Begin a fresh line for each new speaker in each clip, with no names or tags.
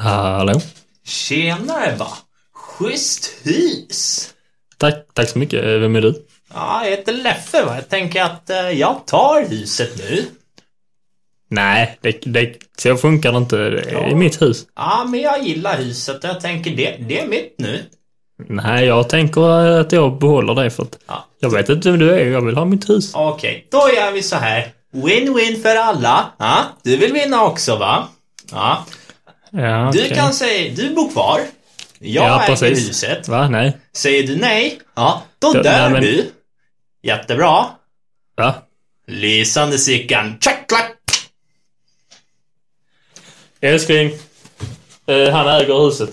Hallå?
Tjenare va! Schysst hus!
Tack, tack så mycket. Eh, Vem är du?
Ja, jag heter Leffe va. Jag tänker att eh, jag tar huset nu.
Nej, det, det, så funkar det inte. Det är
Ja.
mitt hus.
Ja, men jag gillar huset och jag tänker det, det är mitt nu.
Nej, jag tänker eh, att jag behåller det för att
Ja.
jag vet inte vem du är. Jag vill ha mitt hus.
Okej, då gör vi så här. Win-win för alla. Ja, du vill vinna också va? Ja,
Ja,
du
okej.
kan säga, du bor kvar. Jag
Ja,
äger
precis.
huset.
Va? Nej.
Säger du nej, ja, då
Ja,
dör
nej, men-
du. Jättebra.
Va?
Lysande Sickan. Tjack, klack!
Älskling. Eh, han äger huset.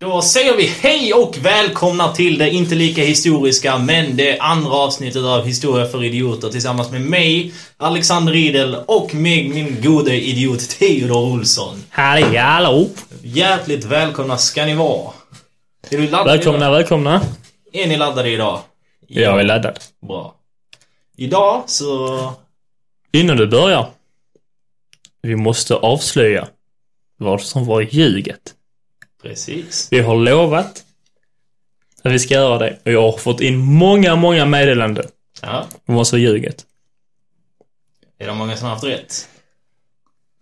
Då säger vi hej och välkomna till det inte lika historiska men det andra avsnittet av Historia för idioter tillsammans med mig, Alexander Riedel och med min gode idiot Theodor Olsson.
Hallå, hallå!
Hjärtligt välkomna ska ni vara. Är du laddad
Välkomna,
Idag?
välkomna.
Är ni laddade idag?
Jag är laddad.
Bra. Idag så...
Innan du börjar. Vi måste avslöja vad som var ljuget.
Precis.
Vi har lovat att vi ska göra det och jag har fått in många, många meddelanden
Ja.
om vad som är ljuget.
Är det många som har haft rätt?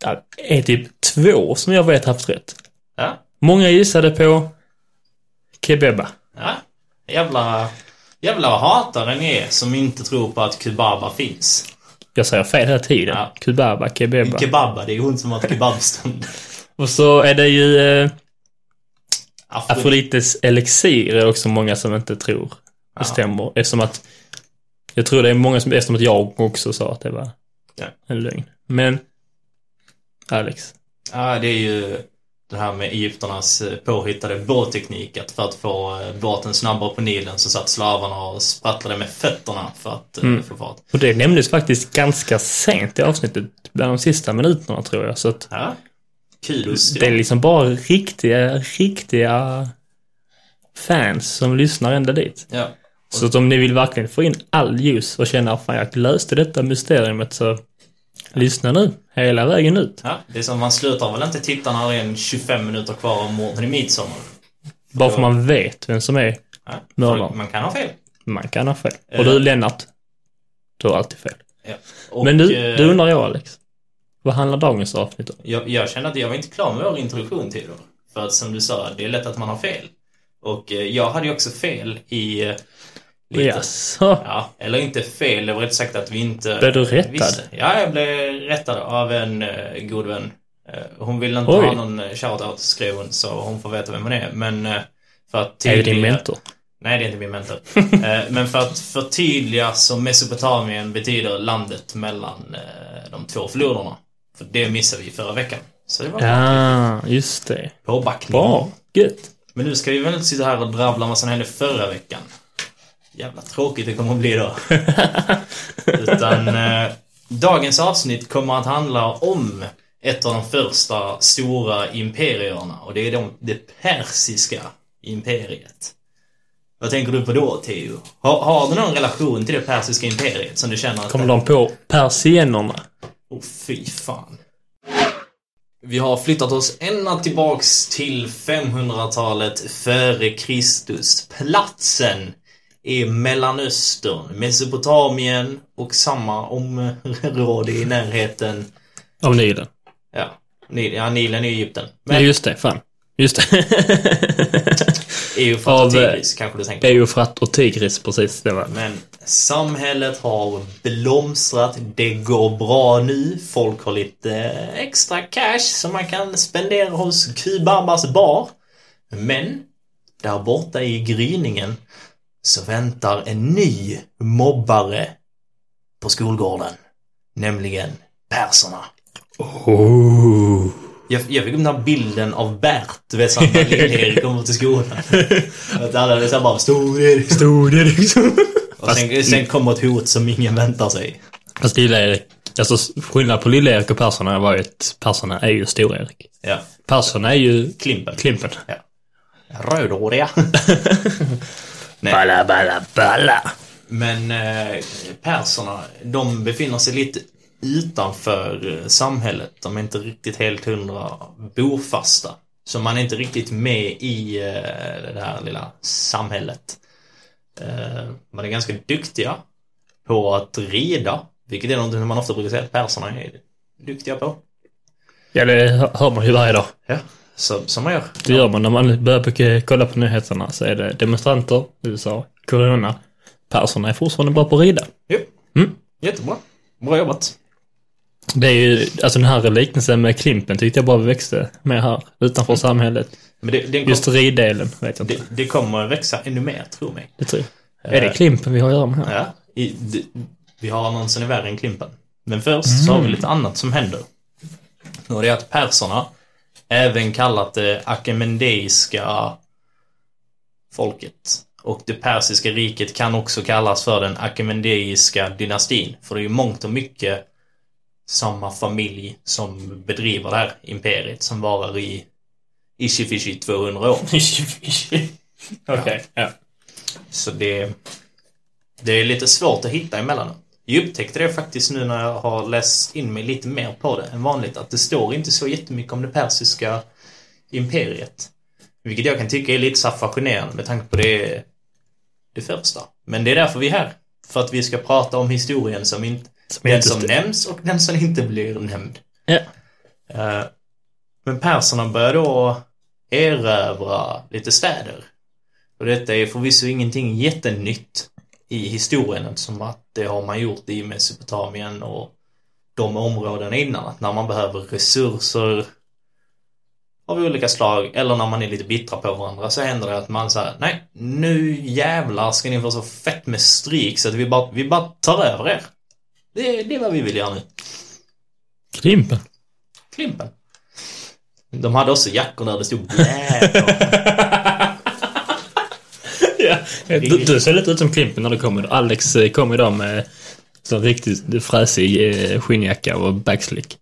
Ja, Det är typ två som jag vet haft rätt.
Ja.
Många gissade på kebeba.
Ja. Jävla... Jävla hatare ni är som inte tror på att kubaba finns.
Jag säger fel hela tiden.
Ja.
Kubaba, kebeba.
Kebabba, det är hon som har ett kebabstånd.
och så är det ju eh,
Afrodite.
Afrodites elixir är också många som inte tror det stämmer. Eftersom att jag tror det är många som, eftersom att jag också sa att det var
Ja.
en lögn. Men Alex,
Ja, det är ju det här med Egypternas eh, påhittade båtteknik. Att för att få eh, båten snabbare på Nilen så satt slavarna och sprattlade med fötterna för att eh,
Mm.
få fart.
och det nämndes faktiskt ganska sent i avsnittet, bland de sista minuterna tror jag. Så att
Ja. Kudos.
det är liksom bara riktiga, riktiga fans som lyssnar ända dit.
Ja.
Så att om ni vill verkligen få in all ljus och känna att fan jag löste detta mysteriet så lyssna nu, hela vägen ut.
ja. Det är som man slutar väl inte titta när det är en 25 minuter kvar av morden i midsommar.
Bara för man vet vem som är
Ja.
Mördaren.
Man kan ha fel.
Man kan ha fel. Och du Lennart, du har alltid fel.
Ja. Eh. Och,
Men nu,
eh,
du undrar jag Alex. Vad handlar dagens avsnitt om?
Jag, jag kände att jag var inte klar med vår introduktion till dem. För att som du sa, det är lätt att man har fel. Och eh, jag hade ju också fel i... Eh, lite.
Jaså?
Ja, eller inte fel, det var rätt sagt att vi inte...
Blev du rättad?
visste. Ja, jag blev rättad av en eh, god vän. Eh, hon ville inte
Oj.
ha någon eh, shoutout, skrev hon, så hon får veta vem hon är. Men eh, för att
Är det din
tydliga-
mentor?
Nej, det är inte min mentor. Eh, Men för att förtydliga så Mesopotamien betyder landet mellan eh, de två floderna. För det missade vi förra veckan. Så det var
Ja, Ah, just det.
påbackning.
Bra, gött.
Men nu ska vi väl inte sitta här och drabbla om vad som hände förra veckan. Jävla tråkigt det kommer att bli då. Utan eh, dagens avsnitt kommer att handla om ett av de första stora imperierna och det är de, det persiska imperiet. Vad tänker du på då, Theo? Har, har du någon relation till det persiska imperiet som du känner att...
Kommer de på persienerna?
Åh, fy fan. Vi har flyttat oss ända tillbaks till 500-talet före Kristus. Platsen är Mellanöstern, Mesopotamien och samma område i närheten.
Av Nilen?
Ja, Nil, ja Nilen i Egypten.
Nej,
Men
just det. Fan. Just det.
Eufrat och
av, eh,
Tigris kanske du tänker på.
Eufrat och Tigris, precis. Det var
Men samhället har blomstrat, det går bra nu, folk har lite extra cash som man kan spendera hos Kubabbas bar. Men, där borta i gryningen så väntar en ny mobbare på skolgården. Nämligen perserna.
Oh.
Jag, jag fick den här bilden av Bert, du vet, så att Lill-Erik kommer till skolan. Att alla är så här bara stor Erik.
Stod det liksom.
Och sen, sen kommer ett hot som ingen väntar sig.
Fast Lille-Erik, alltså skillnad på Lille-Erik och Perserna var ju att Perserna är ju Stor-Erik.
Ja.
Perserna är ju
Klimpen.
Klimpen.
Rödhåriga. Nej.
Balla, balla, balla.
Men eh, perserna, de befinner sig lite utanför eh, samhället. De är inte riktigt helt hundra bofasta. Så man är inte riktigt med i eh, det här lilla samhället. Eh, man är ganska duktiga på att rida, vilket är något man ofta brukar säga att perserna är duktiga på.
Ja, det hör man ju varje dag.
Ja. Så, som man gör.
Det gör man när man börjar på- kolla på nyheterna så är det demonstranter, USA, corona. Perserna är fortfarande bra på att rida.
Jo.
Mm.
Jättebra. Bra jobbat.
Det är ju, alltså den här liknelsen med Klimpen tyckte jag bara växte med här, utanför samhället.
Men det, den kom,
Just riddelen vet jag inte.
det, det kommer växa ännu mer, tror mig.
Det tror jag. Är det Klimpen vi har att göra med här?
Ja, i, d- vi har någon som är värre än Klimpen. Men först så har vi lite annat som händer. Och det är att perserna, även kallat det akemendeiska folket och det persiska riket kan också kallas för den akemendeiska dynastin. För det är ju mångt och mycket samma familj som bedriver det här imperiet som varar i Ishifishi 200 år.
Okej, ja.
Så det, det är lite svårt att hitta emellan. Jag upptäckte det faktiskt nu när jag har läst in mig lite mer på det än vanligt, att det står inte så jättemycket om det persiska imperiet. Vilket jag kan tycka är lite så här fascinerande med tanke på det, det första. Men det är därför vi är här. För att vi ska prata om historien som, inte,
Som
den
inte
som
st-
nämns och den som inte blir nämnd.
Ja.
Eh, Men perserna börjar då erövra lite städer. Och detta är förvisso ingenting jättenytt i historien eftersom att det har man gjort i Mesopotamien och de områdena innan. Att när man behöver resurser av olika slag eller när man är lite bittra på varandra så händer det att man säger nej, nu jävlar ska ni få så fett med stryk så att vi bara, vi bara tar över er. Det, det är vad vi vill göra nu.
Klimpen.
Klimpen. De hade också jackor där det stod blä på.
Ja. Du, du ser lite ut som Klimpen när du kommer. Alex eh, kom idag med sån riktigt fräsig eh, skinnjacka och backslick.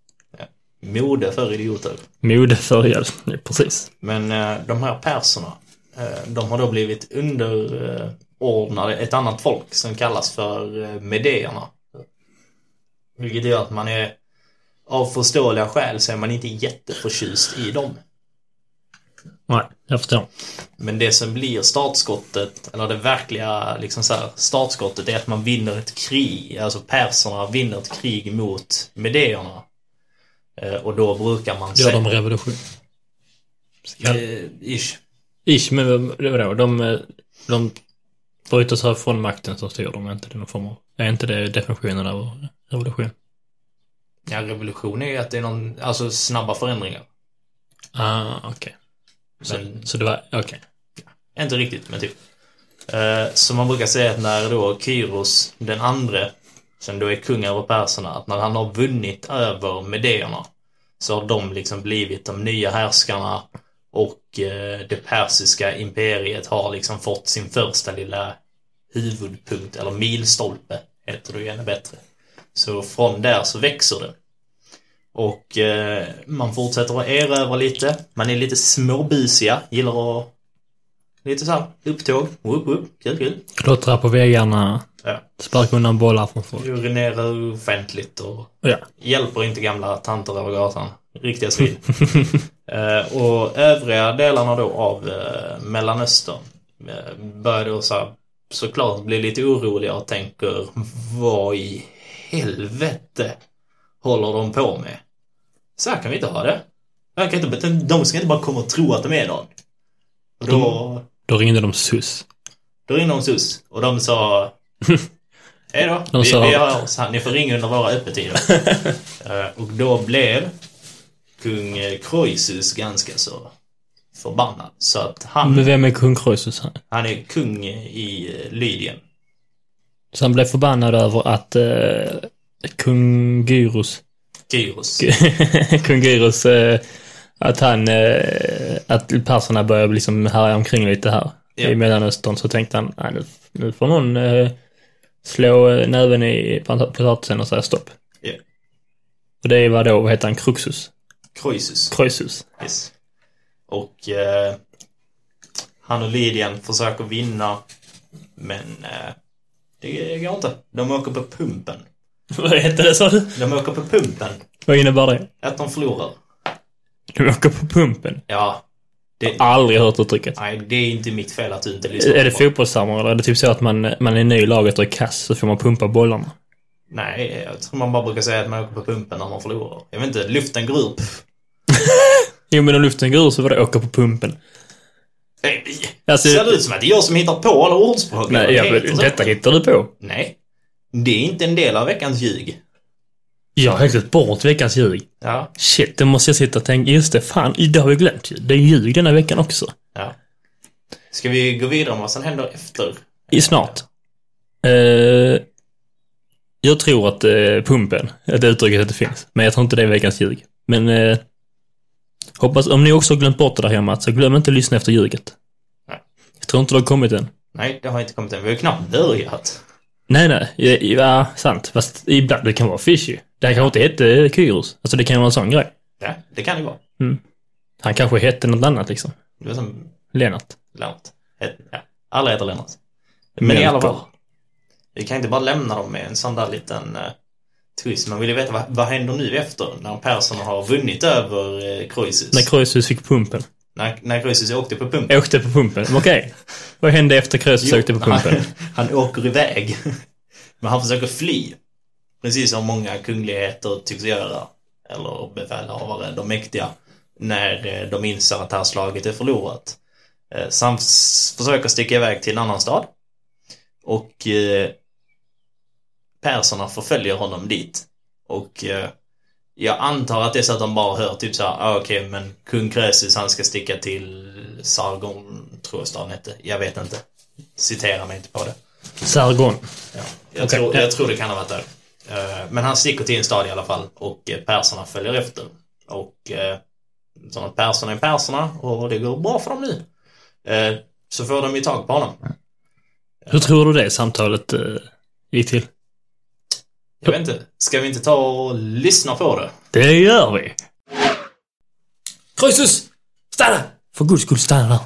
Mode för idioter.
Mode förgäld, Ja, precis.
Men eh, de här perserna, eh, de har då blivit underordnade ett annat folk som kallas för eh, medéerna. Vilket gör att man är, av förståeliga skäl så är man inte jätteförtjust i dem.
Nej, jag förstår.
Men det som blir startskottet, eller det verkliga liksom så här, startskottet, är att man vinner ett krig. Alltså perserna vinner ett krig mot medéerna. Eh, Och då brukar man
Gör de revolution? Ja.
Eh, ish.
Ish, men vad- vadå? De, eh, de bryter sig från makten så styr de inte det någon form av... Är inte det definitionen av revolution?
Ja, revolution är ju att det är någon, alltså snabba förändringar.
Ah, okej.
Men
Så, så det var... Okej.
inte riktigt, men typ. Eh, Så man brukar säga att när då Kyros den andre, som då är kung över perserna, att när han har vunnit över medéerna så har de liksom blivit de nya härskarna och eh, det persiska imperiet har liksom fått sin första lilla huvudpunkt, eller milstolpe, heter det ju ännu bättre. Så från där så växer det. Och eh, man fortsätter att erövra lite, man är lite småbusiga, gillar att Lite så här, upptåg, upp, upp, kul, kul.
Klottra på väggarna,
Ja.
sparka undan bollar från folk.
Urinerar offentligt och
Ja.
hjälper inte gamla tanter över gatan. Riktiga svin. eh, och övriga delarna då av eh, Mellanöstern eh, börjar då så här, såklart bli lite oroliga och tänker vad i helvete håller de på med? Så här kan vi inte ha det. Jag kan inte, de ska inte bara komma och tro att de är någon. Och då...
Då ringde de SUS.
Då ringde de SUS och de sa Hej då,
De
vi,
sa-
vi har oss här. Ni får ringa under våra öppettider. Eh, och då blev kung eh, Croesus ganska så förbannad. Så att han,
Men vem är kung Croesus här?
han är kung i eh, Lydien.
Så han blev förbannad över att eh, kung Gyros,
Kyros.
kung Gyros eh, Att han, eh, att perserna börjar liksom härja omkring lite här
Ja.
i Mellanöstern så tänkte han, nej nu, nu får någon eh, slå eh, näven i pota- potatisen och säga stopp.
Ja.
Och det var då, vad heter han, Kruxus?
Croesus.
Kreusus.
Yes. Och eh, han och Lydian försöker vinna, men eh, det går inte. De åker på pumpen.
vad hette det sa du?
De åker på pumpen.
Vad innebär det?
Att de förlorar.
Du åker på pumpen.
Ja. Det,
Aldrig hört uttrycket.
nej, det är inte mitt fel att du inte lyssnar
Är det
på-
fotbollssammanhang eller är det typ så att man, man är ny i laget och är kass så får man pumpa bollarna?
Nej, jag tror man bara brukar säga att man åker på pumpen när man förlorar. Jag vet inte, luften går upp.
Jo men om luften går ur så var det åka på pumpen.
Nej,
Alltså,
Eh, Ser det ut som att det är jag som hittar på alla ordspråk?
nej,
Det
jag,
heter så.
detta hittar du på.
Nej. Det är inte en del av veckans ljug.
Jag har helt glömt bort veckans ljug.
Ja.
Shit, det måste jag sitta och tänka. Just det, fan, det har vi glömt ju. Det är ljug denna veckan också.
ja. Ska vi gå vidare om vad som händer efter?
I snart. Eh, jag tror att eh, pumpen, att det uttrycket inte finns. Men jag tror inte det är veckans ljug. Men eh, hoppas, om ni också har glömt bort det där hemma, så glöm inte att lyssna efter ljuget.
Nej.
Jag tror inte det har kommit än.
Nej, det har inte kommit än. Vi har ju knappt börjat.
Nej, nej. Ja, ja, sant. Fast ibland det kan vara fishy. Det här kanske inte hette Kyros. Alltså det kan vara en sån grej.
Ja, det kan det vara.
Han kanske hette något annat liksom.
Det var som
Lennart.
Lennart. Het- Ja, alla heter Lennart. Men i alla
Melker.
fall. Vi kan inte bara lämna dem med en sån där liten uh, twist. Man vill ju veta vad, vad händer nu efter när Persson har vunnit över uh, Croesus.
När Kreusus fick pumpen.
När, när Croesus åkte på pumpen.
Åkte på pumpen. Men Okej. Vad hände efter Kreusus åkte på pumpen?
Han, han åker iväg. Men han försöker fly. Precis som många kungligheter tycks göra. Eller befälhavare, de mäktiga. När eh, de inser att det här slaget är förlorat. Eh, Så han s- försöker sticka iväg till en annan stad. Och eh, perserna förföljer honom dit. Och eh, jag antar att det är så att de bara hör typ så här, ah, okej men kung Krösus han ska sticka till Sargon, tror jag staden hette. Jag vet inte. Citera mig inte på det.
Sargon.
Ja. Jag,
Okej.
tror, jag tror det kan ha varit där. Eh, Men han sticker till en stad i alla fall och eh, perserna följer efter. Och eh, så att perserna är perserna och det går bra för dem nu. Eh, Så får de ju tag på honom.
Hur tror du det samtalet eh, gick till?
Jag vet inte, ska vi inte ta och lyssna på det?
Det gör vi! Kreusus! Stanna! För guds skull, stanna där.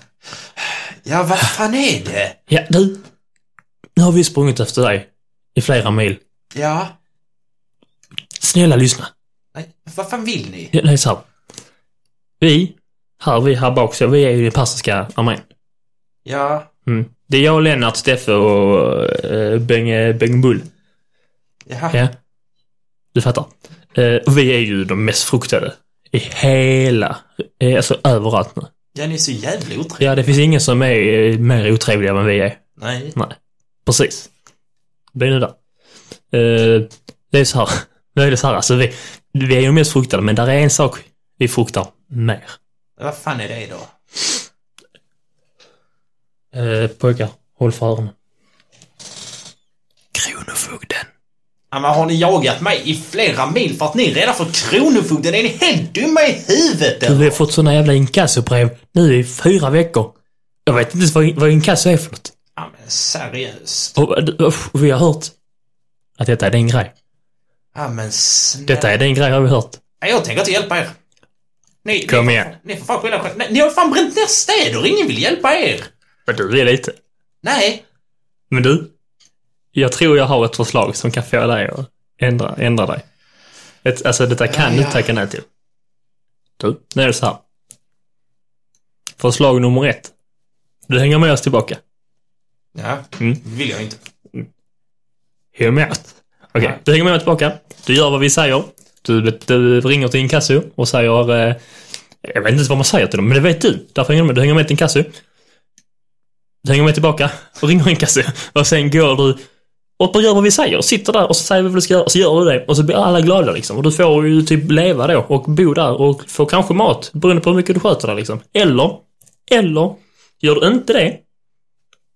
Ja, vad fan är det?
Ja, du. Nu har vi sprungit efter dig i flera mil.
Ja,
Snälla lyssna.
nej, vad fan vill ni?
Ja, Det är så här. Vi, här, vi här bak, så vi är ju den persiska armén.
Ja,
Mm. Det är jag, Lennart, Steffe och eh, Beng, Beng Bull.
jaha.
Ja. Du fattar. Eh, och vi är ju de mest fruktade i hela, eh, alltså överallt nu.
Ja, ni är så jävla otrevliga.
Ja, det finns ingen som är eh, mer otrevliga än vi är.
Nej.
Precis. Det är det där. Eh, det är så här, nu är det så här, alltså vi, vi är ju mest fruktade, men där är en sak vi fruktar mer.
Vad fan är det då?
Eh, pojkar, håll för öronen. Kronofogden.
Ja, men har ni jagat mig i flera mil för att ni är rädda för Kronofogden? Är ni helt dumma i huvudet
Du, vi
eller?
har fått såna jävla inkassobrev nu i fyra veckor. Jag vet inte ens vad, vad inkasso är för något.
Ja, men seriöst.
Och, eh, och vi har hört att detta är din grej.
Ja, men snälla.
Detta är din grej har vi hört.
Ja, jag tänker inte hjälpa er. Ni,
Kom
ni,
igen.
Ni får fan skylla er själva. Nej, Ni har fan bränt ner städer. Ingen vill hjälpa er.
Men du, det är lite.
Nej.
Men du, jag tror jag har ett förslag som kan få dig att ändra, ändra dig. Ett, alltså detta kan du
Ja,
inte tacka nej till. Du, nu är det så här. Förslag nummer ett. Du hänger med oss tillbaka.
Ja,
Mm.
det vill jag inte.
Häng med oss. Okej,
Nej.
du hänger med oss tillbaka. Du gör vad vi säger. Du, du ringer till inkasso och säger... Eh, jag vet inte ens vad man säger till dem, men det vet du. Därför hänger du med. Du hänger med till inkasso. Du hänger med tillbaka och ringer inkasso. Och sen går du och gör vad vi säger. Sitter där och så säger vi vad du ska göra och så gör du det. Och så blir alla glada liksom. Och du får ju typ leva då och bo där och få kanske mat beroende på hur mycket du sköter där liksom. Eller, eller, gör du inte det,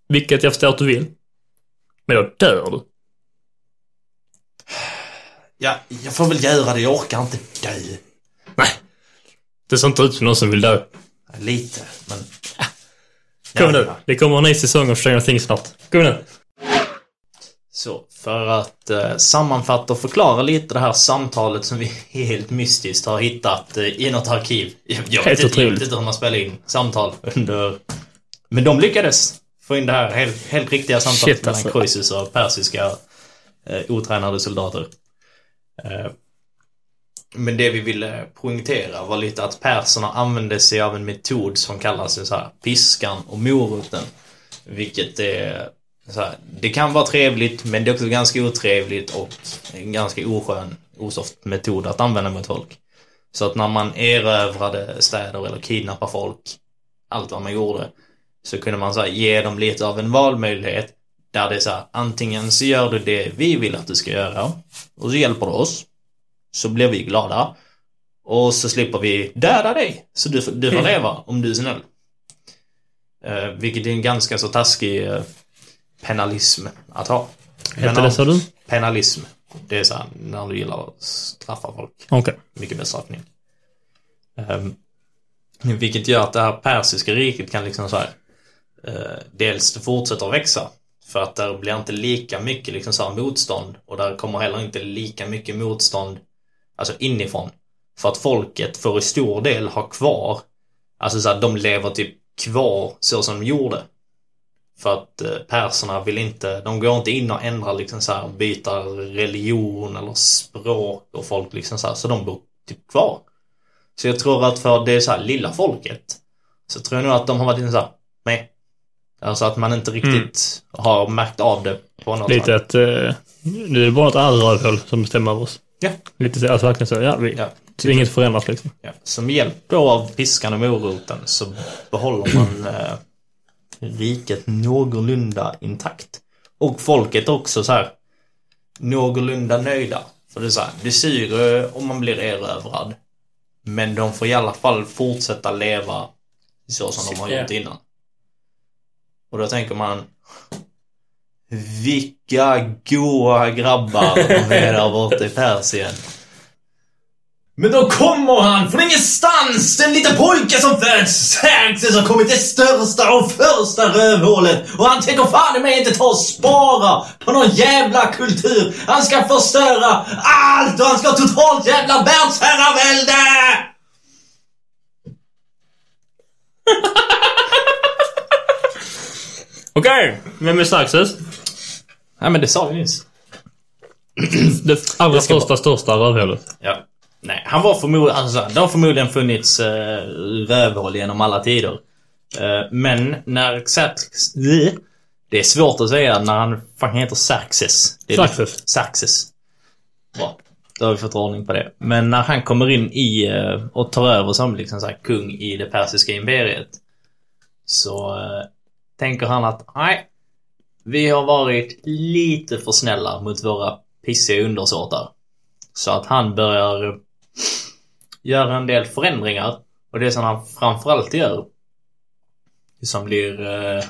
vilket jag förstår att du vill, men då dör du.
Ja, jag får väl göra det. Jag orkar inte dö.
Nej. Det ser inte ut som någon som vill dö.
Lite, men...
Kom
Ja,
nu.
ja.
Det kommer en ny säsong av Stranger Things snart. Kom nu.
Så, för att eh, sammanfatta och förklara lite det här samtalet som vi helt mystiskt har hittat eh, i något arkiv. Jag, jag
Helt
vet inte
otroligt.
riktigt hur man spelar in samtal under... Men de lyckades få in det här helt, helt riktiga samtalet
Shit,
mellan
alltså.
Croesus och persiska eh, otränade soldater. Eh, men det vi ville poängtera var lite att perserna använde sig av en metod som kallas så här, piskan och moroten. Vilket är så här, det kan vara trevligt men det är också ganska otrevligt och en ganska oskön, osoft metod att använda mot folk. Så att när man erövrade städer eller kidnappade folk, allt vad man gjorde, så kunde man så här, ge dem lite av en valmöjlighet där det är så här, antingen så gör du det vi vill att du ska göra och så hjälper du oss, så blir vi glada och så slipper vi döda dig så du, får- du får leva om du är snäll. Eh, vilket är en ganska så taskig eh, penalism att ha. Men
Hette det
om-
sa du?
Penalism. Det är så här, när du gillar att straffa folk.
Okej.
Mycket bestraffning. Ehm, vilket gör att det här persiska riket kan liksom så här, eh, dels det fortsätter att växa. För att där blir inte lika mycket liksom så här motstånd och där kommer heller inte lika mycket motstånd alltså inifrån. För att folket får i stor del ha kvar, alltså så här, de lever typ kvar så som de gjorde. För att eh, perserna vill inte, de går inte in och ändrar liksom så här, byta religion eller språk och folk liksom så här, så de bor typ kvar. Så jag tror att för det så här lilla folket så tror jag nog att de har varit lite så här, nej. Alltså att man inte riktigt har märkt av det på något
Lite
sätt.
att... Eh, nu är det bara något annat rövhål som bestämmer över oss.
Ja.
Lite så, alltså verkligen så. Ja, vi,
Ja.
så inget förändras liksom.
Ja. Som hjälp då av piskan och moroten så behåller man eh, riket någorlunda intakt. Och folket också så här någorlunda nöjda. För det är så här, det syr eh, om man blir erövrad. Men de får i alla fall fortsätta leva så som de har gjort innan. Och då tänker man vilka goa grabbar de är där borta i Persien. Men då kommer han från ingenstans! Den lilla pojke som föds! Xerxes har kommit det största och första rövhålet! Och han tänker fan i mig inte ta och spara på någon jävla kultur! Han ska förstöra allt och han ska ha totalt jävla världsherravälde!
Okej! Vem är Xerxes?
Nej men det sa vi nyss.
Det allra största, största rövhålet.
Ja. Nej, han var förmodligen, alltså, det har förmodligen funnits eh, rövhål genom alla tider. Eh, men när Xerxes... Det är svårt att säga när han fucking heter Xerxes. Det är
Xerxes.
Xerxes. Bra. Då har vi fått ordning på det. Men när han kommer in i eh, och tar över som liksom så här, kung i det persiska imperiet. Så eh, tänker han att nej, vi har varit lite för snälla mot våra pissiga undersåtar. Så att han börjar eh, göra en del förändringar. Och det som han framförallt gör som blir... Eh,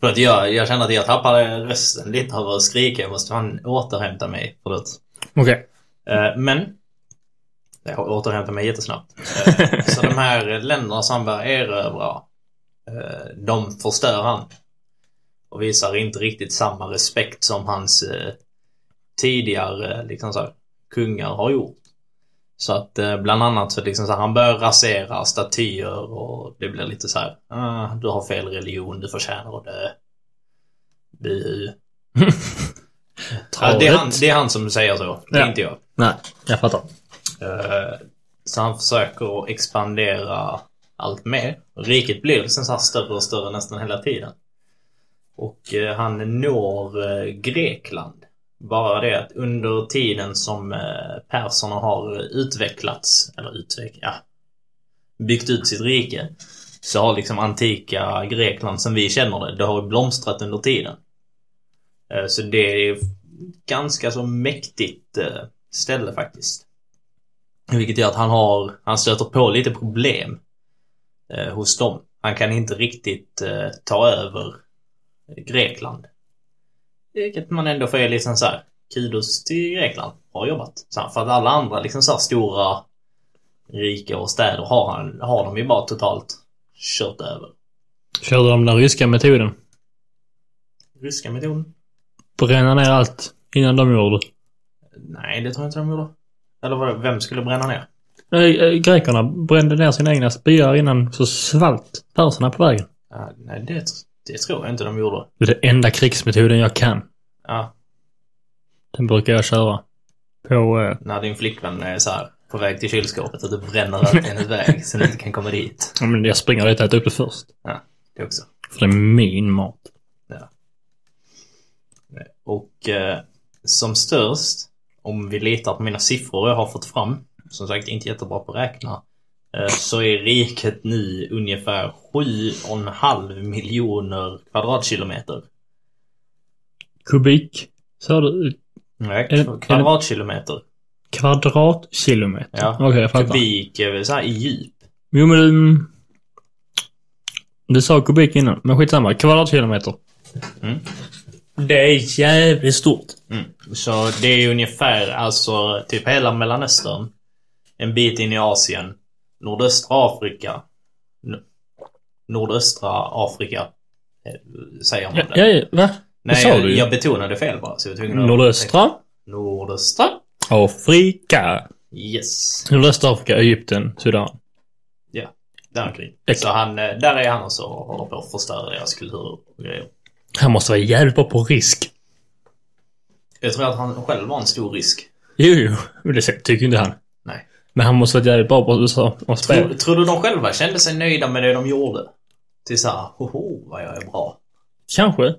för att jag, jag känner att jag tappade rösten lite av att skrika. Jag måste fan återhämta mig. Förlåt.
Okej.
Eh, men... Jag återhämtar mig jättesnabbt. Eh, så de här länderna som han börjar erövra, eh, de förstör han. Och visar inte riktigt samma respekt som hans eh, tidigare liksom så här, kungar har gjort. Så att eh, bland annat så liksom så här, han börjar rasera statyer och det blir lite så här, ah, du har fel religion, du förtjänar att dö. Buhu. Ja, det, är han, det är han som säger så, det är
Ja.
inte jag.
Nej, jag fattar.
Eh, Så han försöker att expandera allt mer. Riket blir liksom så här större och större nästan hela tiden. Och eh, han når eh, Grekland. Bara det att under tiden som eh, perserna har utvecklats, eller utveck, ja, byggt ut sitt rike, så har liksom antika Grekland som vi känner det, det har blomstrat under tiden. Eh, Så det är ganska så mäktigt eh, ställe faktiskt. Vilket gör att han har, han stöter på lite problem eh, hos dem. Han kan inte riktigt eh, ta över Grekland. Vilket man ändå får ge liksom så här, kudos till Grekland. Bra jobbat. Så här, för att alla andra liksom så här stora rika och städer har, han, har de ju bara totalt kört över.
Körde de den ryska metoden.
Ryska metoden?
Bränna ner allt innan de gjorde.
Nej, det tror jag inte de gjorde. Eller vad, vem skulle bränna ner?
Nej, eh, Grekerna brände ner sina egna byar innan så svalt perserna på vägen.
Ja, nej, det, det tror jag inte de gjorde.
Det är den enda krigsmetoden jag kan.
Ja,
Den brukar jag köra. På... Eh,
när din flickvän är så här på väg till kylskåpet och du bränner allt i hennes väg så du inte kan komma dit.
ja, men jag springer dit och äter upp det först.
Det också.
För det är min mat.
Och eh, som störst, om vi letar på mina siffror jag har fått fram, som sagt inte jättebra på att räkna, eh, så är riket nu ungefär 7,5 miljoner kvadratkilometer.
Kubik. Så du
Nej,
Eller-
kvadratkilometer.
kvadratkilometer.
Ja.
Okej, jag fattar.
Kubik är väl så här i djup.
Jo, men du... Du sa kubik innan, men skitsamma. Kvadratkilometer.
Mm.
Det är jävligt stort.
Mm. Så det är ungefär, alltså typ hela Mellanöstern, en bit in i Asien, nordöstra Afrika, n- nordöstra Afrika, eh, säger man
Ja,
det.
ja, ja, va?
Nej,
sa
jag,
du ju.
jag betonade fel bara. Så jag var tvungen att-
Nordöstra
Nordöstra.
Afrika.
Yes.
Nordöstra Afrika, Egypten, Sudan.
Där omkring.
Ex-
Så han, eh, där är han också och håller på att förstöra deras kultur och grejer.
Han måste vara jävligt bra på risk.
Jag tror att han själv var en stor risk.
Jo, jo. Men det tycker ju inte han.
Nej.
Men han måste vara jävligt bra på att- att
Tror,
spela.
tror du de själva kände sig nöjda med det de gjorde? Till såhär, hoho vad jag är bra.
Kanske.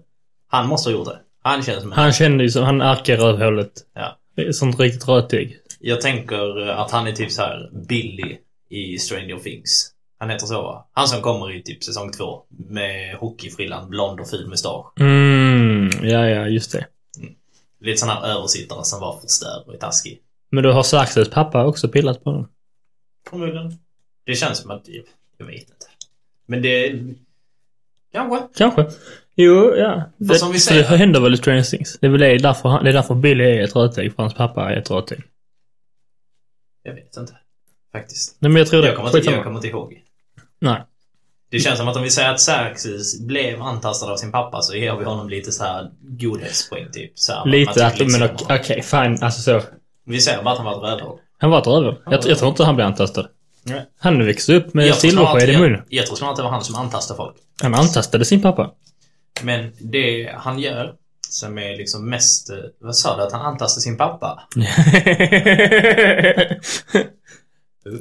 Han måste ha gjort det. Han känns som en...
Han kände ju som, han arkar rövhålet.
Ja.
Det är Sånt riktigt rötägg.
Jag tänker eh, att han är typ så här Billy i Stranger Things. Han heter så va? Han som kommer i typ säsong två. Med hockeyfrillan, blond och ful mustasch.
Mm, ja, ja, just det.
Lite sån här översittare som var förstörd och är taskig.
Men då har Xerxes pappa också pillat på honom.
Förmodligen. Det känns som att... typ, Jag vet inte. Men det... Kanske.
Kanske. Jo, ja. Det,
som vi
så
säger-
det händer väl i Stranger Things. Det är väl det, därför, han, det är därför Billy är ett rötägg, för hans pappa är ett rötägg.
Jag vet inte. Faktiskt.
Nej, men jag tror det.
Jag kommer, inte, jag
Skitsamma.
kommer inte ihåg.
Nej.
Det känns som att om vi säger att Xerxes blev antastad av sin pappa så ger vi honom lite så här godhetspoäng typ. Så här, man
Lite
tycker
att,
lite
men
synd om
okej,
honom.
okej, fine. Alltså så.
Vi säger bara att han var ett rövhål.
Han var ett rövhål. Jag, jag tror inte han blev antastad.
Nej.
Han växte upp med
Jag tror snarare
silversked
att-
i munnen.
Jag, jag tror snarare att det var han som antastade folk.
Han antastade sin pappa.
Men det han gör som är liksom mest... eh, Vad sa du? Att han antastade sin pappa?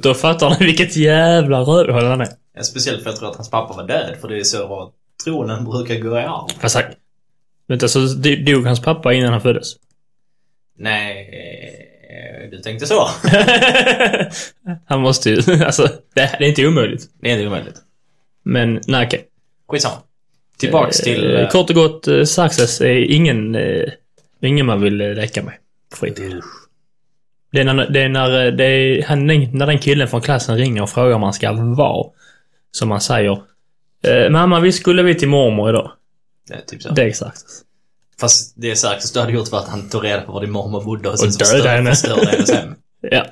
Då fattar ni vilket jävla rövhål han är.
Ja, Speciellt för jag tror att hans pappa var död, för det är så vad tronen brukar gå i arv.
Fast han... Vänta, så d- dog hans pappa innan han föddes?
Nej, eh, du tänkte så.
han måste ju... Alltså, det, det är inte omöjligt.
Det är inte omöjligt.
Men, nej okej.
Skitsamma. Tillbaks till...
Eh,
eh,
Kort och gott, eh, Success är ingen, eh, ingen man vill eh, leka med. på fritid. Det är när, det är när, eh, det är, han, när den killen från klassen ringer och frågar om han ska vara. Som man säger. Eh, mamma, vi skulle vi till mormor idag.
eh, typ så.
Det är Success.
Fast det Xerxes du hade gjort var att han tog reda på var din mormor bodde och sen
Och
så
dödade
förstörde
henne.
förstörde hennes hem.
Ja.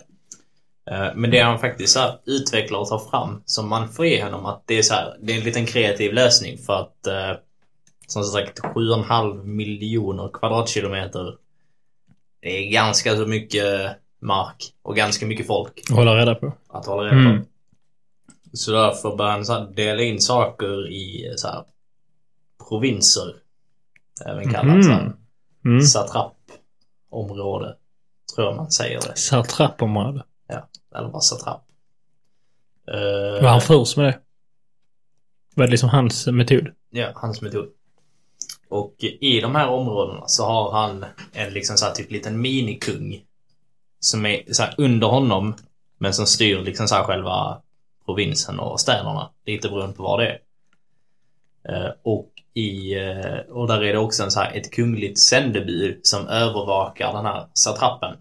Eh, Men det han faktiskt så här, utvecklar och tar fram som man får ge honom att det är så här, det är en liten kreativ lösning för att eh, som sagt 7,5 miljoner kvadratkilometer. Det är ganska så mycket mark och ganska mycket folk
Hålla reda på.
att hålla reda på.
Mm.
Så därför börjar han så här, dela in saker i så här, provinser. Även kallat så här,
Mm. Mm.
satrapområde. Tror jag man säger det.
Satrapområde.
Eller bara satrap. Eh,
Var han först med det? Var det liksom hans metod?
Ja, hans metod. Och i de här områdena så har han en liksom så här typ liten minikung. Som är så här under honom. Men som styr liksom så här själva provinsen och städerna. Lite beroende på var det är. Eh, Och, i, eh, och där är det också en så här, ett kungligt sändebud som övervakar den här satrappen.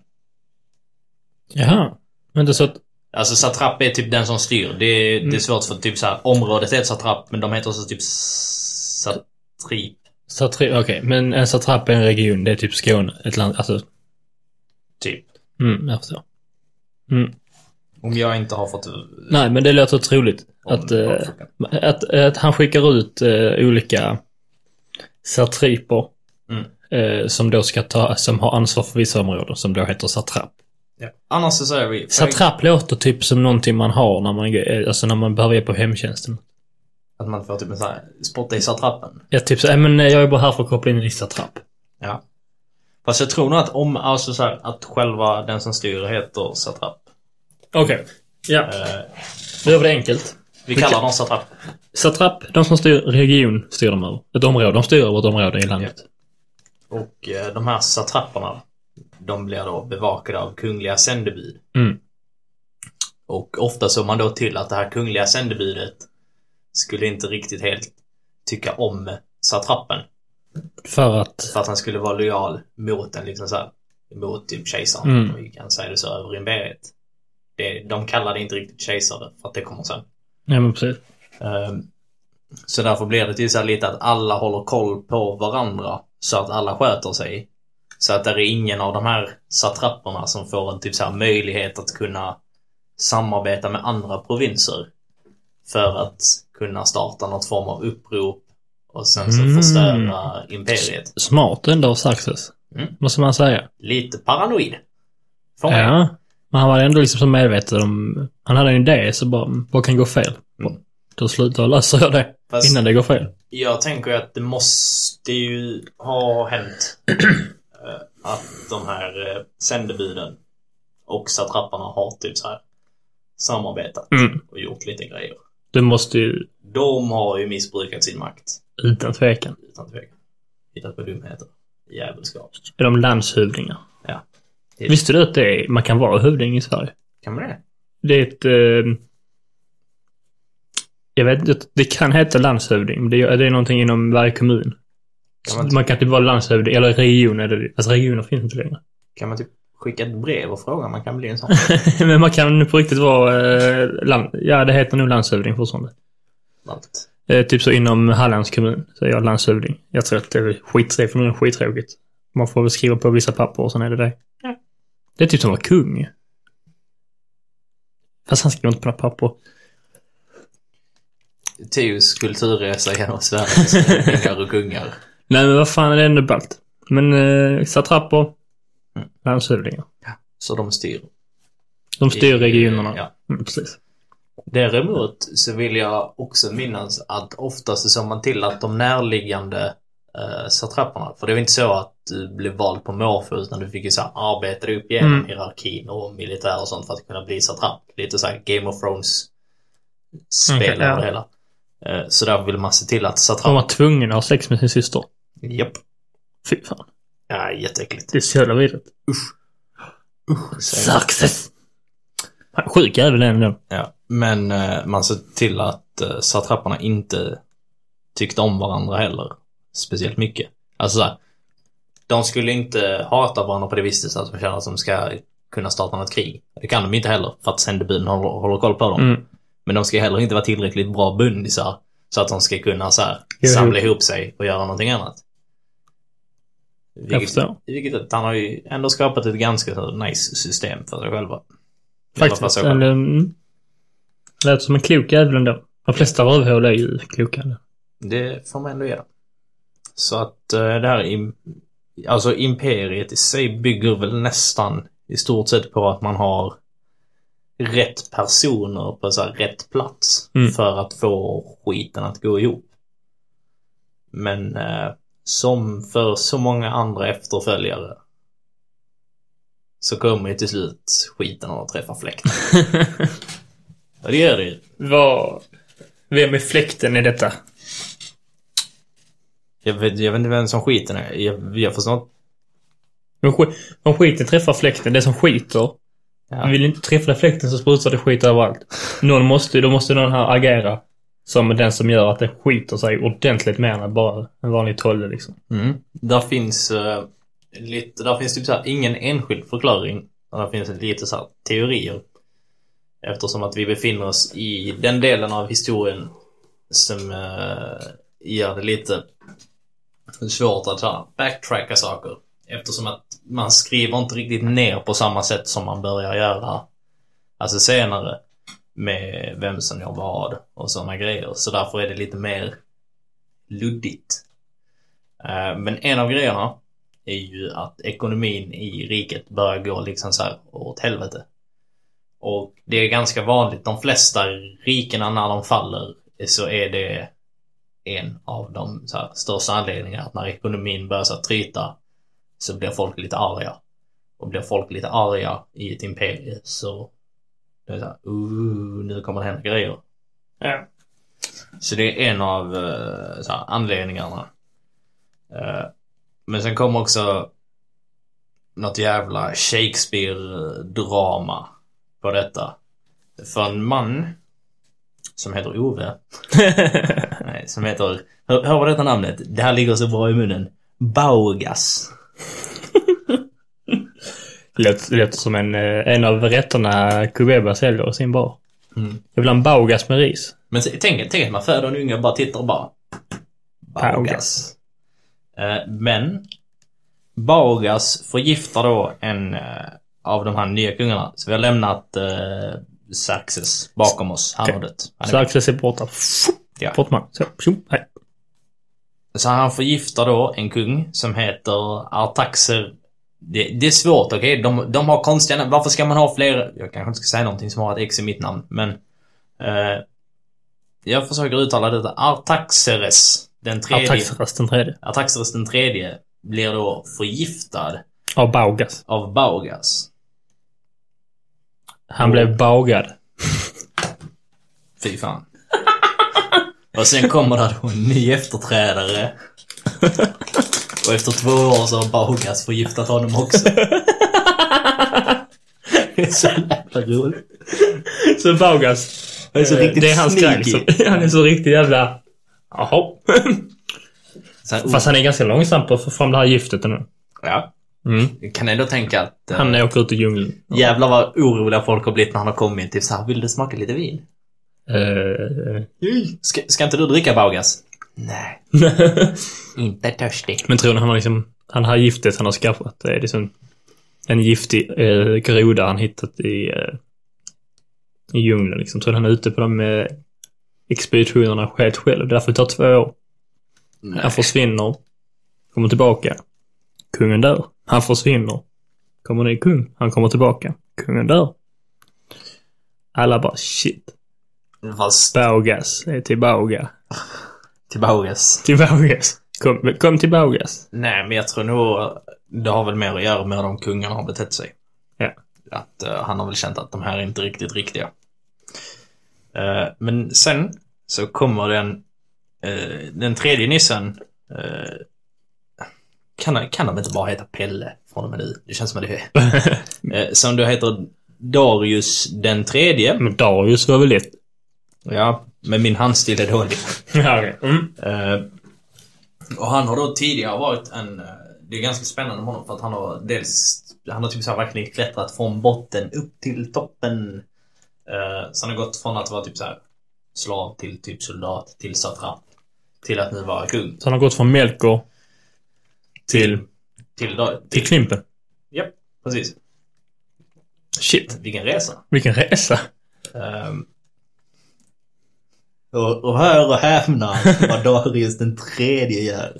Jaha. Men det är så att...
Alltså satrap är typ den som styr. Det är,
Mm.
det är svårt för typ så här, området är ett satrap men de heter också typ satrip.
Satri... Okej, men en satrap är en region. Det är typ Skåne. Ett land. Alltså...
Typ.
Mm, jag förstår. Mm.
Om jag inte har fått...
Nej, men det låter troligt.
Om-
Att, eh,
avsluta.
att, att han skickar ut eh, olika satriper
Mm.
eh, som då ska ta, som har ansvar för vissa områden, som då heter satrap.
Ja. Annars så säger vi...
Satrap låter typ som någonting man har när man, eh, alltså när man behöver hjälp av hemtjänsten.
Att man får typ en sån här... Spotta i satrappen.
Ja, typ så, "Nej, men eh, jag är bara här för att koppla in i satrap.
Ja. Fast jag tror nog att om... Alltså så här, att själva den som styr heter satrap.
Okej. Ja,
Eh,
då gör vi det enkelt.
vi
Vilka-
kallar dem satrap.
Satrap, de som styr region, styr de över. Ett område, de styr över ett område i landet.
Och eh, de här satrapperna, de blir då bevakade av kungliga sändebud.
Mm.
Och ofta såg man då till att det här kungliga sändebudet skulle inte riktigt helt tycka om satrappen.
För att...
För att han skulle vara lojal mot en liksom så här, mot typ kejsaren,
Mm.
om vi kan säga det så, över imperiet. Det, de kallade inte riktigt kejsare, för att det kommer sen.
Nej, men precis.
Ehm, Så därför blir det ju så här lite att alla håller koll på varandra så att alla sköter sig. Så att det är ingen av de här satrapperna som får en typ så här möjlighet att kunna samarbeta med andra provinser. För att kunna starta något form av upprop och sen så
Mm.
förstöra imperiet.
Smart ändå av Saxes.
Mm.
Måste man säga.
Lite paranoid. Får man ju.
Ja. Men han var ändå liksom så medveten om... Han hade en idé, så bara, vad kan gå fel?
Mm. Alltså-
Då slutar jag lösa jag det.
Fast-
Innan det går fel.
Jag tänker ju att det måste ju ha hänt eh, att de här eh, sändebuden och satrapparna har typ så här samarbetat
Mm.
och gjort lite grejer.
Det måste ju,
De har ju missbrukat sin makt
utan tvekan,
utan tvekan. Hittat på dumheter. Djävulskap.
är de landshövdingar.
Ja.
Visste du att det är, man kan vara hövding i Sverige?
Kan man det?
Det är ett... Eh, jag vet inte, det kan heta landshövding, men det är, det är någonting inom varje kommun.
Kan man,
Man kan typ vara landshövding, eller region, eller, alltså regioner finns inte längre.
kan man typ skicka ett brev och fråga om man kan bli en sån?
Men man kan på riktigt vara... Eh, land, ja, det heter nog landshövding fortfarande.
Allt.
Eh, typ så inom Hallands kommun så är jag landshövding. Jag tror att det är skittrevligt, för mig är det skittråkigt. Man får väl skriva på vissa papper och sen är det det.
Ja.
Det är typ som att vara kung. Fast han skriver inte på några papper.
Theos kulturresa genom Sveriges kungar och kungar.
Nej, men vad fan är det ändå ballt. Men eh, satrapper,
Mm.
landshövdingar.
Så de styr.
De styr
I- eh,
regionerna.
Ja.
Mm, precis.
Däremot så vill jag också minnas att oftast såg man till att de närliggande eh, satrapperna, för det var inte så att du blev vald på måfå utan du fick ju så här arbeta dig upp genom
Mm.
hierarkin och militär och sånt för att kunna bli satrapp. Lite så här Game of Thrones
Okej,
spel över
Mm, ja.
det hela. Eh, så där vill man se till att
De
satrapp...
var tvungna att ha sex med sin syster.
Japp.
Fy fan.
Ja, jätteäckligt.
Det är så jävla vidrigt.
Så-
Success! Mm. Fan, Sjuk jävel är den ändå.
Ja, men eh, man såg till att eh, satrapperna inte tyckte om varandra heller. Speciellt mycket. Alltså såhär, de skulle inte hata varandra på det viset så att de känner att de ska kunna starta något krig. Det kan de inte heller, för att sändebuden håller, håller koll på dem.
Mm.
Men de ska heller inte vara tillräckligt bra bundisar så att de ska kunna så här,
Jo, jo.
samla ihop sig och göra någonting annat.
Jag
Vilket,
förstår.
vilket han har ju ändå skapat ett ganska så här nice system för sig själva. I alla fall
Faktiskt.
så själv.
Eller, mm. Lät som en klok jävel ändå. De flesta rövhål är ju kloka. ändå.
Det får man ändå göra. Så att eh, det här im- alltså imperiet i sig bygger väl nästan i stort sett på att man har rätt personer på så här rätt plats
Mm.
för att få skiten att gå ihop. Men eh, som för så många andra efterföljare så kommer ju till slut skiten att träffa fläkten. Och det gör det ju.
Vad... Vem är fläkten i detta?
Jag vet, jag vet inte vem som skiten är. Jag, jag förstår inte.
Om, sk- om skiten träffar fläkten, det som skiter.
Ja.
Vill inte träffa fläkten så sprutar det skit överallt. Någon måste, då måste någon här agera. Som den som gör att det skiter sig ordentligt mer än bara en vanlig tolle liksom.
Mm. Där finns eh, lite, där finns typ så här ingen enskild förklaring. Men Där finns lite så här teorier. Eftersom att vi befinner oss i den delen av historien som eh, gör det lite svårt att så här, backtracka saker. Eftersom att man skriver inte riktigt ner på samma sätt som man börjar göra Alltså senare. Med vem som gör vad och sådana grejer. Så därför är det lite mer luddigt. Eh, Men en av grejerna är ju att ekonomin i riket börjar gå liksom så här åt helvete. Och det är ganska vanligt, de flesta rikena när de faller så är det en av de så här, största anledningarna att när ekonomin börjar så här, tryta så blir folk lite arga. Och blir folk lite arga i ett imperium så det är så här, "Ooh, nu kommer det hända grejer.
Ja.
Så det är en av eh, så här, anledningarna. Eh, Men sen kom också något jävla Shakespeare-drama på detta. För en man som heter Ove. Nej, som heter... Hör, hör vad detta namnet? Det här ligger så bra i munnen. Baugas.
Lät, lät som en, eh, en av rätterna Kubeba säljer i sin bar. Jag vill ha en baugas med ris.
Men se- tänk, tänk att man föder en unge och bara tittar och bara... Baugas. Eh, men Baugas förgiftar då en eh, av de här nya kungarna. Så vi har lämnat eh, Xerxes bakom oss. Han har dött. Han är
Så Axel ser borta.
Ja.
Bort man. Så, tjo, hej.
Så han förgiftar då en kung som heter Artaxer. Det, det är svårt, okej? De, de har konstiga namn. Varför ska man ha fler? Jag kanske inte ska säga någonting som har ett X i mitt namn, men... Eh, jag försöker uttala detta. Artaxeres. Den tredje.
Artaxeras den tredje.
Artaxeres den tredje blir då förgiftad
Av baugas.
av Baugas.
Han blev bagad.
Fy fan. Och sen kommer det då en ny efterträdare. Och efter två år så har Baugas förgiftat honom också. Det är så jävla roligt.
Så baugas.
Han är så
eh,
riktigt
det är hans
sneaky.
grej. liksom. som- Han är så riktigt jävla... Jaha.
Så här, oh,
Fast han är ganska långsam på att få fram det här giftet nu.
ja,
Mm.
jag kan ändå tänka att eh,
Han åker ut i djungeln.
jävlar vad oroliga folk har blivit när han har kommit. Typ såhär, vill du smaka lite vin?
Eh,
Ska, ska inte du dricka Baugas? Nej, inte törstig.
Men tror ni han har liksom... Han har giftet han har skaffat. Det är liksom en giftig eh, groda han hittat i, eh, i djungeln liksom. Så han är ute på de eh, expeditionerna helt själv. Därför tar det två år. Han försvinner. Kommer tillbaka. Kungen dör. Han försvinner. Kommer ny kung. Han kommer tillbaka. Kungen dör. Alla bara shit.
Fast
Baugas är tillbaka.
till Baugas.
Till Baugas. Kom, kom till Baugas.
Nej, men jag tror nog det har väl mer att göra med hur de kungarna har betett sig.
Ja.
Att eh, han har väl känt att de här är inte riktigt riktiga. Eh, men sen så kommer den, eh, den tredje nissen. eh, kan, han- kan de inte bara heta Pelle från och med nu? Det känns som att det är. Eh, som då heter Darius den tredje.
Men Darius var väl lätt.
Ja, men min handstil är dålig.
Ja, okej. Mm.
Eh, och han har då tidigare varit en... eh, Det är ganska spännande med honom för att han har dels... Han har typ så här verkligen klättrat från botten upp till toppen. Eh, så han har gått från att vara typ så här slav till typ soldat till satrap. Till att nu vara kung.
Så han har gått från Melkor till,
Till, då-
till
till
Klimpen.
Japp, precis.
Shit,
Vilken resa.
vilken resa.
Ehm, och, och hör och häpna vad Darius den tredje gör.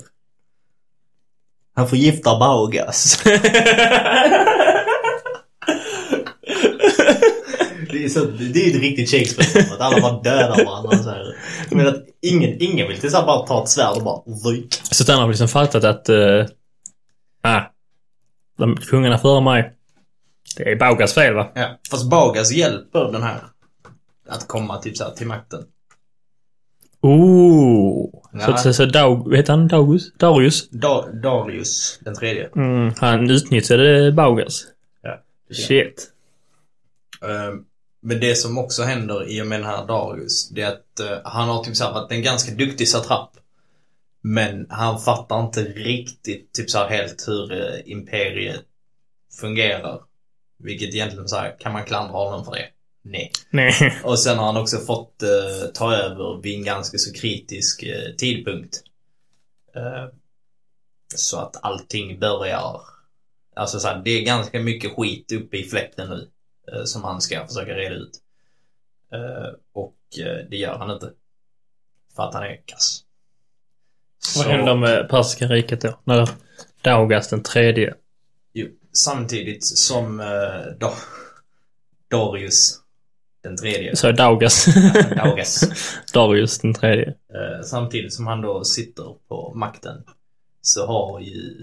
Han förgiftar Baugas. Det är, så, det är ett riktigt Shakespeare att alla bara dödar varandra så här. Men att ingen, ingen vill till så här bara ta ett svärd och bara ryk.
Så att han har liksom fattat att... Uh, ah, de kungarna före mig. Det är Baugas fel va?
Ja. Fast Baugas hjälper den här att komma typ så här till makten.
Ooh.
Ja.
Så, så, så Daug, heter han Daugus? Darius?
Da, Darius den tredje.
Mm, han utnyttjade Baugas.
Ja.
Shit.
Eh, Men det som också händer i och med den här Darius, det är att eh, han har typ så här varit en ganska duktig satrap. Men han fattar inte riktigt typ så här helt hur eh, imperiet fungerar. Vilket egentligen så här, kan man klandra honom för det? Nej.
Nej.
Och sen har han också fått eh, ta över vid en ganska så kritisk eh, tidpunkt. Eh, så att allting börjar... Alltså så här, det är ganska mycket skit uppe i fläkten nu. eh, som han ska försöka reda ut. Eh, och eh, det gör han inte. För att han är kass.
Vad
Så-
händer med Persiska riket då? När Daugas den tredje.
Jo, samtidigt som eh, da, Darius den tredje,
Så är Daugas.
Daugas,
Darius den tredje.
eh, samtidigt som han då sitter på makten så har ju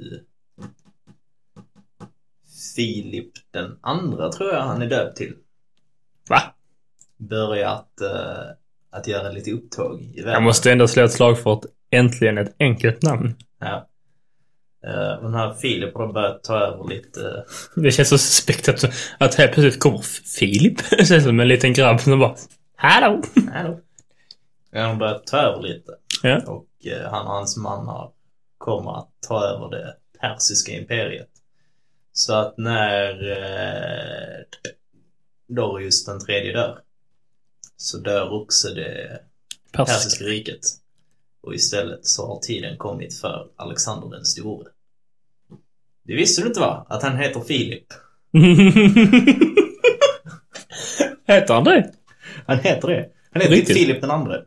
Filip den andra tror jag han är döpt till
Va?
börjat eh, att göra lite upptåg i världen.
Jag måste ändå slå ett slag för ett, äntligen ett enkelt namn.
Ja. Eh, och den här Filip har då börjat ta över lite eh,
Det känns så suspekt att, att helt plötsligt kommer F- Filip. Det känns som en liten grabb som bara Hallå!
Hallå. Han har börjat ta över lite.
Ja.
Och eh, han och hans mannar kommer att ta över det persiska imperiet. Så att när eh, Darius den tredje dör så dör också det
Persiska.
persiska riket. Och istället så har tiden kommit för Alexander den store. Det visste du inte va? Att han heter Filip.
Heter han det?
Han heter det. Han heter
Riktigt?
Filip den andre.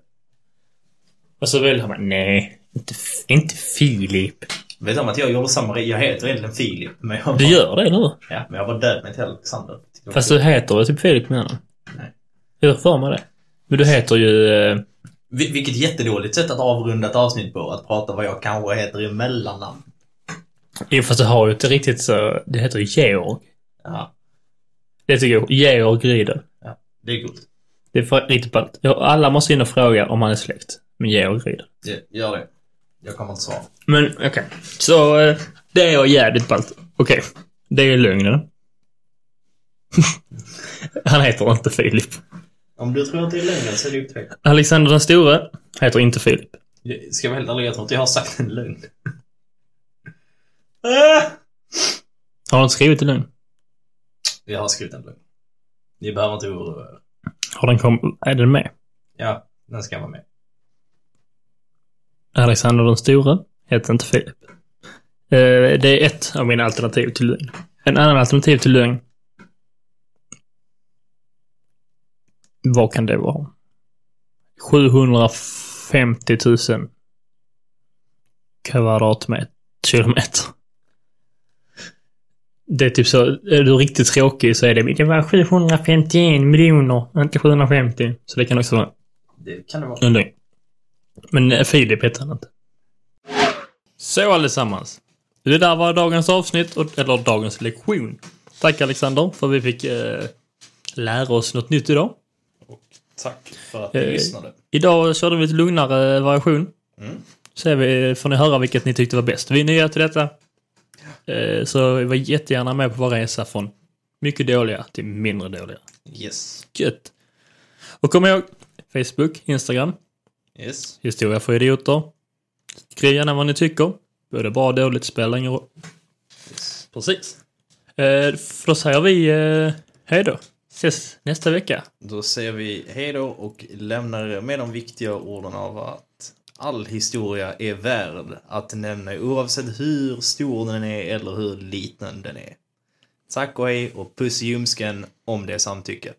Och så väljer han bara, nej, inte, F- inte Filip.
Vet om att jag gjorde samma re- Jag heter egentligen Filip men jag
Du gör det, eller hur?
Ja, men jag var död med till Alexander.
Fast du heter väl typ Filip menar du?
Nej.
Jag har för mig det. Men du heter ju... eh,
Vil- Vilket jättedåligt sätt att avrunda ett avsnitt på, att prata vad jag kanske heter i mellannamn.
Jo, fast du har ju inte riktigt så... Det heter ju Georg.
Ja,
Det tycker jag. Georg Riedel.
det är gott.
Det är för, riktigt ballt. Ja, Alla måste in och fråga om han är släkt med Georg Riedel.
Det- Gör det. Jag kommer inte svara.
Men okej. Så eh, det är jävligt ballt. Okej. Det är lögnen. han heter inte Filip.
Om du tror att det är lögn så är det upptäckt.
Alexander den store heter inte Filip.
Ska jag vara helt ärlig, jag tror inte jag har sagt en lögn. Äh!
Har han skrivit en lögn?
Jag har skrivit en lögn. Ni behöver inte oroa er.
Har den kom, är den med?
Ja, den ska vara med.
Alexander den store heter inte Filip. Eh, det är ett av mina alternativ till lögn. En annan alternativ till lögn. Vad kan det vara? 750 000 kvadratmeter. Kilometer. Det är typ så, är du riktigt tråkig så är det, det var 751 miljoner, inte 750. Så det kan också vara
Det kan det vara.
en lögn. Men eh, Filip heter han inte. Så allesammans. Det där var dagens avsnitt, och- eller dagens lektion. Tack Alexander för vi fick eh, lära oss något nytt idag.
Tack för att
ni Eh, lyssnade. Idag körde vi lite lugnare variation.
Mm.
Så är vi, får ni höra vilket ni tyckte var bäst. Vi är nya till detta. Eh, så var jättegärna med på vår resa från mycket dåliga till mindre dåliga.
Yes.
Gött! Och kom ihåg Facebook, Instagram,
Yes.
Historia för idioter. Skriv gärna vad ni tycker. Både bra och dåligt spelar ingen roll.
yes.
Precis. Eh, för då säger vi eh, hej då. Ses nästa vecka.
Då säger vi hej då och lämnar er med de viktiga orden av att all historia är värd att nämna oavsett hur stor den är eller hur liten den är. Tack och hej och puss i ljumsken om det är samtycke.